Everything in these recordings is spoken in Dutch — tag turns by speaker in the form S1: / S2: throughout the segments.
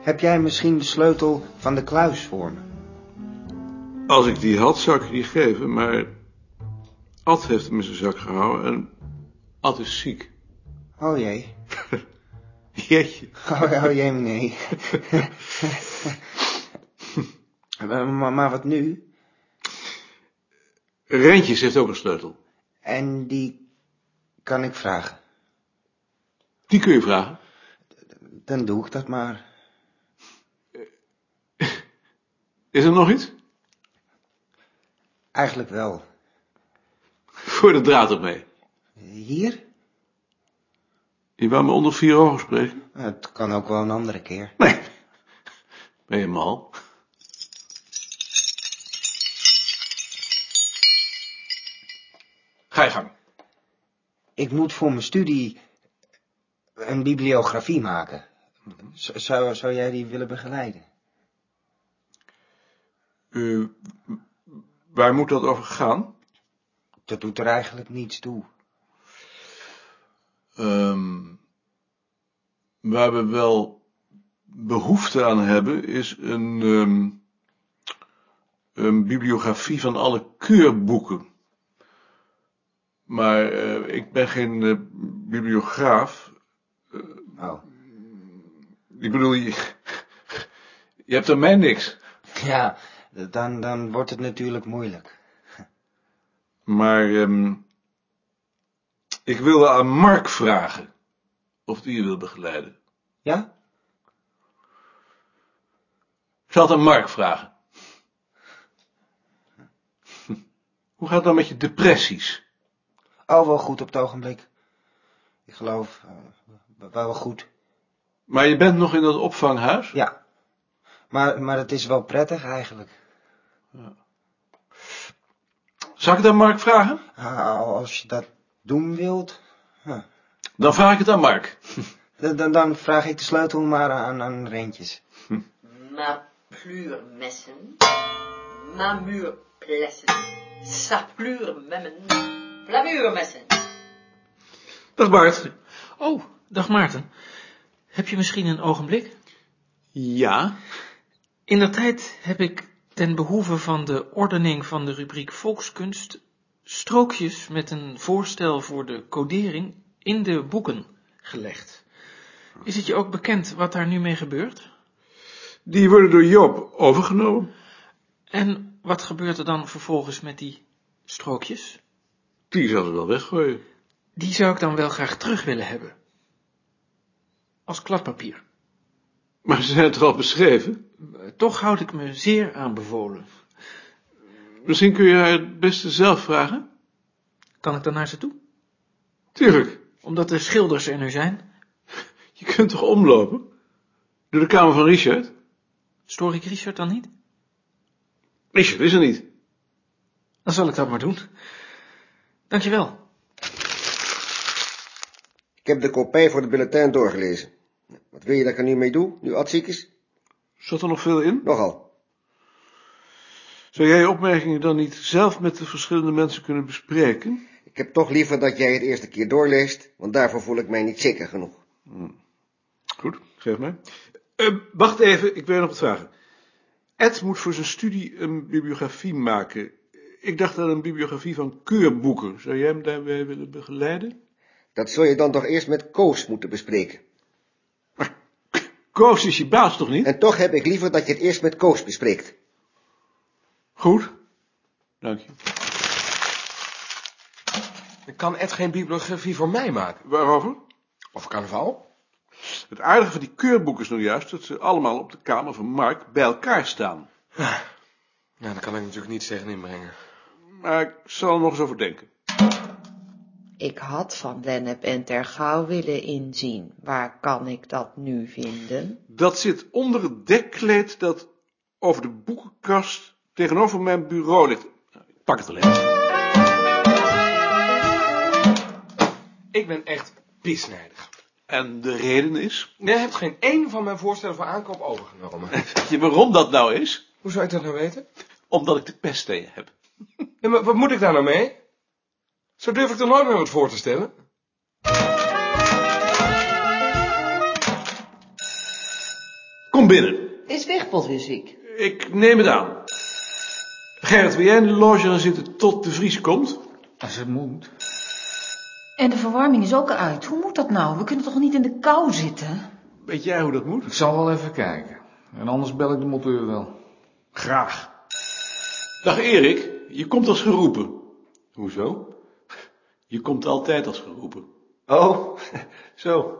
S1: Heb jij misschien de sleutel van de kluis voor me?
S2: Als ik die had, zou ik je die geven, maar... Ad heeft hem in zijn zak gehouden en Ad is ziek.
S1: Oh jee.
S2: Jeetje.
S1: Oh, oh jee, nee. maar, Eh, maar- maar wat nu?
S2: Rentjes heeft ook een sleutel.
S1: En die kan ik vragen.
S2: Die kun je vragen.
S1: Dan doe ik dat maar.
S2: Is er nog iets?
S1: Eigenlijk wel.
S2: Voor de draad ermee.
S1: Hier?
S2: Je wou me onder vier ogen spreken?
S1: Het kan ook wel een andere keer.
S2: Nee. Ben je mal?
S3: Ga je gang.
S1: Ik moet voor mijn studie een bibliografie maken. Z- Zou, zou jij die willen begeleiden?
S2: Eh, waar moet dat over gaan?
S1: Dat doet er eigenlijk niets toe.
S2: Ehm, waar we wel behoefte aan hebben, is een, ehm, een bibliografie van alle keurboeken. Maar eh, ik ben geen eh, bibliograaf.
S1: Oh.
S2: Ik bedoel, je, je hebt aan mij niks.
S1: Ja, dan, dan wordt het natuurlijk moeilijk.
S2: Maar ehm, ik wilde aan Mark vragen of die je wil begeleiden.
S1: Ja?
S2: Ik zal het aan Mark vragen. Hoe gaat het dan met je depressies?
S1: Oh, wel goed op het ogenblik. Ik geloof, eh, wel wel goed.
S2: Maar je bent nog in dat opvanghuis?
S1: Ja. Maar, maar het is wel prettig eigenlijk.
S2: Zal ik het aan Mark vragen?
S1: Ah, Als je dat doen wilt,
S2: Dan vraag ik het aan Mark.
S1: dan, dan- dan vraag ik de sleutel maar aan, aan Rentjes.
S4: Mapluurmessen. Mamuurplessen. Sapluurmemmen. Plamuurmessen.
S2: Dag Bart.
S3: Oh, dag Maarten. Heb je misschien een ogenblik?
S2: Ja?
S3: In der tijd heb ik ten behoeve van de ordening van de rubriek Volkskunst strookjes met een voorstel voor de codering in de boeken gelegd. Is het je ook bekend wat daar nu mee gebeurt?
S2: Die worden door Job overgenomen.
S3: En wat gebeurt er dan vervolgens met die strookjes?
S2: Die zal ze wel weggooien.
S3: Die zou ik dan wel graag terug willen hebben. Als kladpapier.
S2: Maar ze zijn het al beschreven.
S3: Eh, Toch houd ik me zeer aanbevolen.
S2: Misschien kun je haar het beste zelf vragen?
S3: Kan ik dan naar ze toe?
S2: Tuurlijk.
S3: Omdat de schilders er nu zijn.
S2: Je kunt toch omlopen? Door de kamer van Richard?
S3: Stoor ik Richard dan niet?
S2: Richard is er niet.
S3: Dan zal ik dat maar doen. Dankjewel.
S5: Ik heb de kopij voor de bulletin doorgelezen. Wat wil je dat ik er nu mee doe, nu Ad ziek is?
S2: Zat er nog veel in?
S5: Nogal.
S2: Zou jij je opmerkingen dan niet zelf met de verschillende mensen kunnen bespreken?
S5: Ik heb toch liever dat jij het eerste keer doorleest, want daarvoor voel ik mij niet zeker genoeg.
S2: Goed, geef mij. Eh, wacht even, ik wil je nog wat vragen. Ed moet voor zijn studie een bibliografie maken. Ik dacht aan een bibliografie van keurboeken. Zou jij hem daarbij willen begeleiden?
S5: Dat zul je dan toch eerst met Koos moeten bespreken.
S2: Koos is je baas toch niet?
S5: En toch heb ik liever dat je het eerst met Koos bespreekt.
S2: Goed. Dank je.
S6: Kan Ed geen bibliografie voor mij maken?
S2: Waarover?
S6: Of carnaval?
S2: Het aardige van die keurboeken is nou juist dat ze allemaal op de kamer van Mark bij elkaar staan.
S6: Nou, daar kan ik natuurlijk niets tegen inbrengen.
S2: Maar ik zal er nog eens over denken.
S7: Ik had van Lennep en Tergouw willen inzien. Waar kan ik dat nu vinden?
S2: Dat zit onder het dekkleed dat over de boekenkast tegenover mijn bureau ligt. Nou, Ik pak het alleen.
S6: Ik ben echt piesnijdig.
S2: En de reden is?
S6: Jij hebt geen één van mijn voorstellen voor aankoop overgenomen.
S2: Weet je waarom dat nou is?
S6: Hoe zou ik dat nou weten?
S2: Omdat ik de pest tegen je heb.
S6: Ja, maar wat moet ik daar nou mee? Zo durf ik toch nooit meer wat voor te stellen?
S2: Kom binnen.
S4: Is Wichbold weer ziek?
S2: Ik neem het aan. Gerrit, wil jij in de loge gaan zitten tot de Vries komt?
S3: Als het moet.
S8: En de verwarming is ook uit. Hoe moet dat nou? We kunnen toch niet in de kou zitten?
S2: Weet jij hoe dat moet?
S3: Ik zal wel even kijken. En anders bel ik de monteur wel.
S2: Graag. Dag Erik, je komt als geroepen. Hoezo? Je komt altijd als geroepen.
S1: Oh, zo.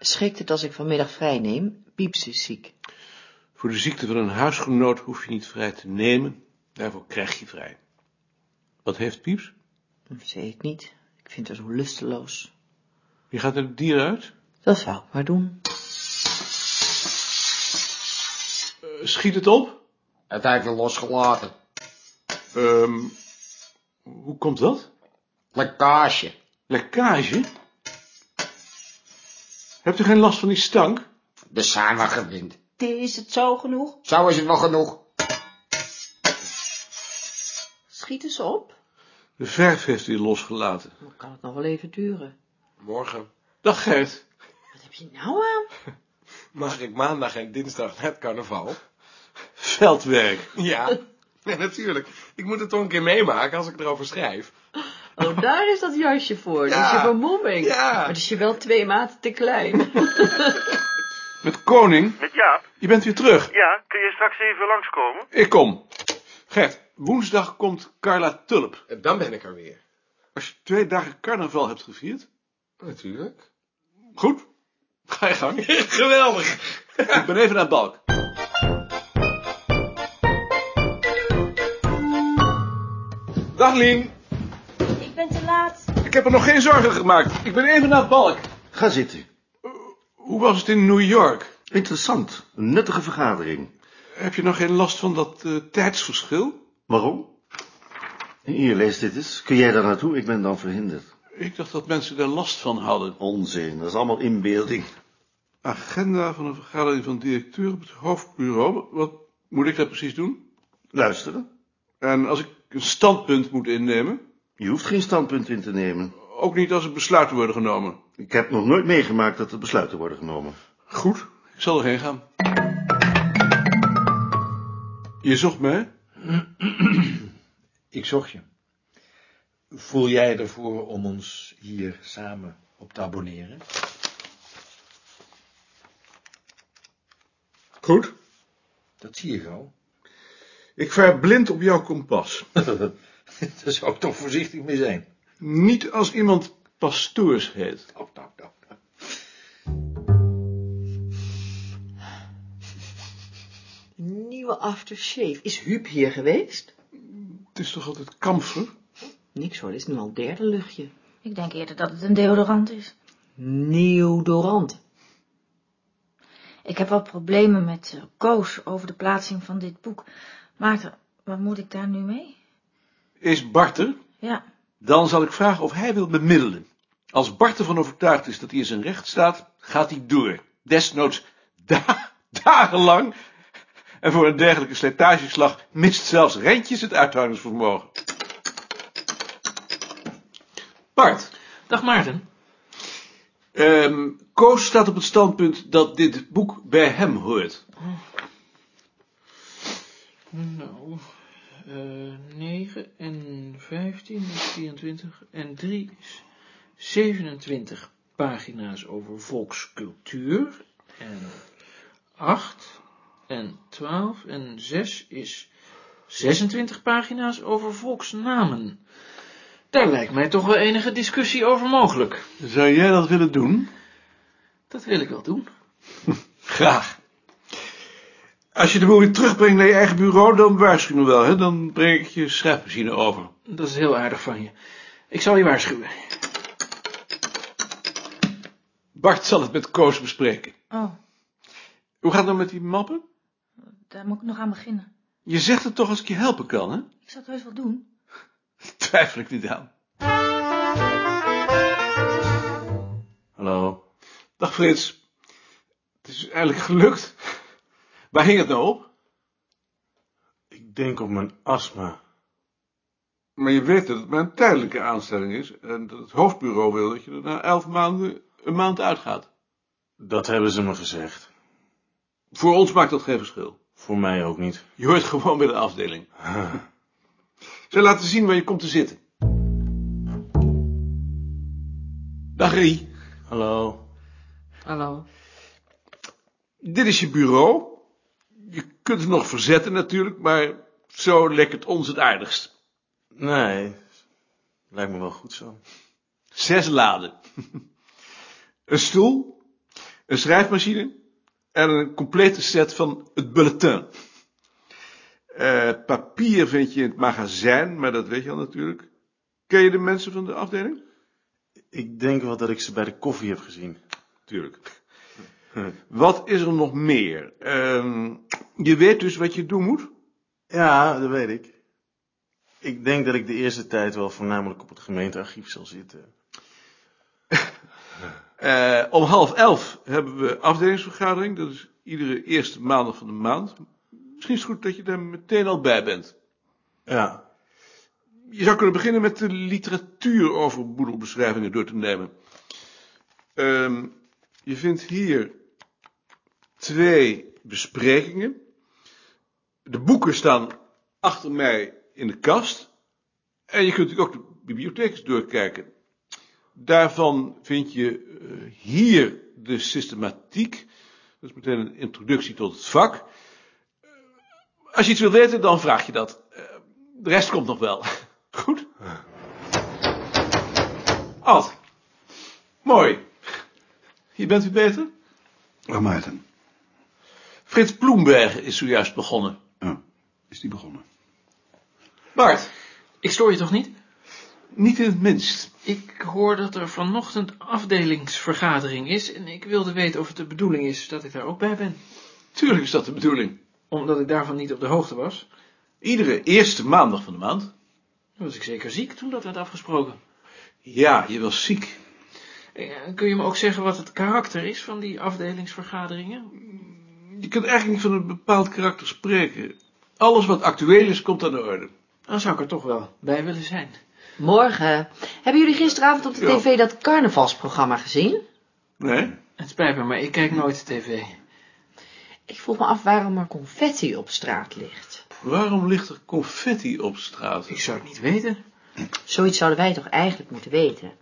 S7: Schrikt het als ik vanmiddag vrij neem? Pieps is ziek.
S2: Voor de ziekte van een huisgenoot hoef je niet vrij te nemen. Daarvoor krijg je vrij. Wat heeft Pieps?
S7: Dat weet ik niet. Ik vind haar zo lusteloos.
S2: Je gaat er het dier uit?
S7: Dat zou ik maar doen.
S2: Eh, Schiet het op?
S3: Het heeft er losgelaten.
S2: Ehm, hoe komt dat?
S3: Lekkage.
S2: Lekkage? Hebt u geen last van die stank?
S3: De samengewind. gewint.
S7: Is het zo genoeg?
S3: Zo is het wel genoeg.
S7: Schiet eens op.
S2: De verf heeft u losgelaten.
S7: Dan kan het nog wel even duren.
S6: Morgen.
S2: Dag Gert.
S7: Wat heb je nou aan?
S6: Mag ik maandag en dinsdag net carnaval?
S2: Veldwerk.
S6: Ja, nee, natuurlijk. Ik moet het toch een keer meemaken als ik erover schrijf.
S7: Oh, daar is dat jasje voor.
S6: Ja.
S7: Dat is je bemomming.
S6: Ja.
S7: Maar dat is je wel twee maten te klein.
S2: Met Koning,
S9: Met Jaap?
S2: je bent weer terug.
S9: Ja, kun je straks even langskomen?
S2: Ik kom. Gert, woensdag komt Carla Tulp.
S6: En Dan ben ik er weer.
S2: Als je twee dagen carnaval hebt gevierd.
S6: Natuurlijk.
S2: Goed, ga je gang.
S6: Geweldig.
S2: Ik ben even naar Balk.
S6: Dag Lien.
S10: Ik ben te laat.
S2: Ik heb er nog geen zorgen gemaakt. Ik ben even naar Balk.
S11: Ga zitten.
S2: Hoe was het in New York?
S11: Interessant. Een nuttige vergadering.
S2: Heb je nog geen last van dat eh, tijdsverschil?
S11: Waarom? Hier, lees dit eens. Kun jij daar naartoe? Ik ben dan verhinderd.
S2: Ik dacht dat mensen daar last van hadden.
S11: Onzin, dat is allemaal inbeelding.
S2: Agenda van een vergadering van directeur op het hoofdbureau. Wat moet ik daar precies doen?
S11: Luisteren.
S2: En als ik een standpunt moet innemen?
S11: Je hoeft geen standpunt in te nemen.
S2: Ook niet als er besluiten worden genomen.
S11: Ik heb nog nooit meegemaakt dat er besluiten worden genomen.
S2: Goed, ik zal erheen gaan. Je zocht mij?
S9: Ik zocht je. Voel jij ervoor om ons hier samen op te abonneren?
S2: Goed.
S9: Dat zie ik al.
S2: Ik vaar blind op jouw kompas.
S9: Daar zou ik toch voorzichtig mee zijn.
S2: Niet als iemand pastoors heet.
S9: Nou, nou, nou. nou.
S7: Nieuwe aftershave. Is Huub hier geweest?
S2: Het is toch altijd kamfer?
S7: Niks hoor, dit is nu al het derde luchtje.
S10: Ik denk eerder dat het een deodorant is.
S7: Neodorant.
S10: Ik heb wel problemen met eh, Koos over de plaatsing van dit boek. Maarten, wat moet ik daar nu mee?
S2: Is Bart er?
S10: Ja,
S2: Dan zal ik vragen of hij wil bemiddelen. Als Bart ervan overtuigd is dat hij in zijn recht staat, gaat hij door. Desnoods da- dagenlang. En voor een dergelijke slijtageslag mist zelfs Rentjes het uithoudingsvermogen. Bart,
S3: Dag Maarten.
S2: ehm, Koos staat op het standpunt dat dit boek bij hem hoort.
S3: Nou, eh 9 en 15 is 24 en 3 is 27 pagina's over volkscultuur. En 8 en 12 en 6 is 26 pagina's over volksnamen. Daar lijkt mij toch wel enige discussie over mogelijk.
S2: Zou jij dat willen doen?
S3: Dat wil ik wel doen.
S2: Graag. Als je de boel weer terugbrengt naar je eigen bureau, dan waarschuw me wel, hè? Dan breng ik je schrijfmachine over.
S3: Dat is heel aardig van je. Ik zal je waarschuwen.
S2: Bart zal het met Koos bespreken.
S10: oh,
S2: Hoe gaat het nou met die mappen?
S10: daar moet ik nog aan beginnen.
S2: Je zegt het toch als ik je helpen kan, hè?
S10: Ik zal het heus wel doen.
S2: Twijfel ik niet aan. Hallo. Dag Frits. Het is eindelijk gelukt. Waar hing het nou op?
S9: Ik denk op mijn astma.
S2: Maar je weet dat het maar een tijdelijke aanstelling is en dat het hoofdbureau wil dat je er na elf maanden een maand uitgaat.
S11: Dat hebben ze me gezegd.
S2: Voor ons maakt dat geen verschil.
S11: Voor mij ook niet.
S2: Je hoort gewoon bij de afdeling. Ze laten zien waar je komt te zitten. Dag Rie.
S11: Hallo.
S7: Hallo.
S2: Dit is je bureau. Je kunt het nog verzetten natuurlijk, maar zo leek het ons het aardigst.
S11: Nee, lijkt me wel goed zo.
S2: Zes laden. een stoel, een schrijfmachine en een complete set van het bulletin. Eh, papier vind je in het magazijn, maar dat weet je al natuurlijk. Ken je de mensen van de afdeling?
S11: Ik denk wel dat ik ze bij de koffie heb gezien.
S2: Tuurlijk. Wat is er nog meer? Ehm, je weet dus wat je doen moet?
S11: Ja, dat weet ik. Ik denk dat ik de eerste tijd wel voornamelijk op het gemeentearchief zal zitten.
S2: Eh, om half elf hebben we afdelingsvergadering. Dat is iedere eerste maandag van de maand. Misschien is het goed dat je daar meteen al bij bent.
S11: Ja,
S2: Je zou kunnen beginnen met de literatuur over boedelbeschrijvingen door te nemen. Ehm, je vindt hier twee besprekingen. De boeken staan achter mij in de kast. En je kunt natuurlijk ook de bibliotheek eens doorkijken. Daarvan vind je eh, hier de systematiek. Dat is meteen een introductie tot het vak. Eh, Als je iets wil weten, dan vraag je dat. Eh, De rest komt nog wel. Goed? Ah. Ad. Mooi. Je bent u beter?
S12: Waar Maarten?
S2: Frits Bloemberg is zojuist begonnen.
S12: Is die begonnen?
S2: Bart.
S3: Ik stoor je toch niet?
S2: Niet in het minst.
S3: Ik hoor dat er vanochtend afdelingsvergadering is en ik wilde weten of het de bedoeling is dat ik daar ook bij ben.
S2: Tuurlijk is dat de bedoeling.
S3: Omdat ik daarvan niet op de hoogte was.
S2: Iedere eerste maandag van de maand.
S3: Dan was ik zeker ziek toen dat werd afgesproken.
S2: Ja, je was ziek.
S3: Eh, Kun je me ook zeggen wat het karakter is van die afdelingsvergaderingen?
S2: Je kunt eigenlijk niet van een bepaald karakter spreken. Alles wat actueel is, komt aan de orde.
S3: Dan zou ik er toch wel bij willen zijn.
S7: Morgen. Hebben jullie gisteravond op de
S2: Ja.
S7: tv dat carnavalsprogramma gezien?
S2: Nee?
S3: Het spijt me, maar ik kijk nooit tv.
S7: Ik vroeg me af waarom er confetti op straat ligt.
S2: Waarom ligt er confetti op straat?
S3: Ik zou het niet weten.
S7: Zoiets zouden wij toch eigenlijk moeten weten?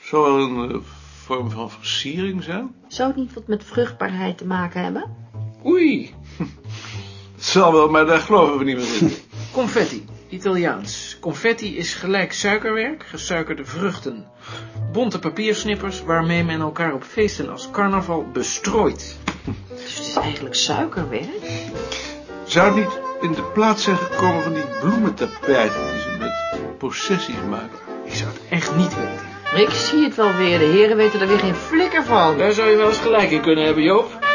S2: Zou wel een eh, vorm van versiering zijn?
S7: Zou het niet wat met vruchtbaarheid te maken hebben?
S2: Oei. Het zal wel, maar daar geloven we niet meer in.
S3: Confetti, Italiaans. Confetti is gelijk suikerwerk, gesuikerde vruchten. Bonte papiersnippers waarmee men elkaar op feesten als carnaval bestrooit.
S7: Dus het is eigenlijk suikerwerk?
S2: Zou het niet in de plaats zijn gekomen van die bloementapijten die ze met processies maken?
S3: Ik zou het echt niet weten.
S7: Ik zie het wel weer, de heren weten er weer geen flikker van.
S3: Daar zou je wel eens gelijk in kunnen hebben, Joop.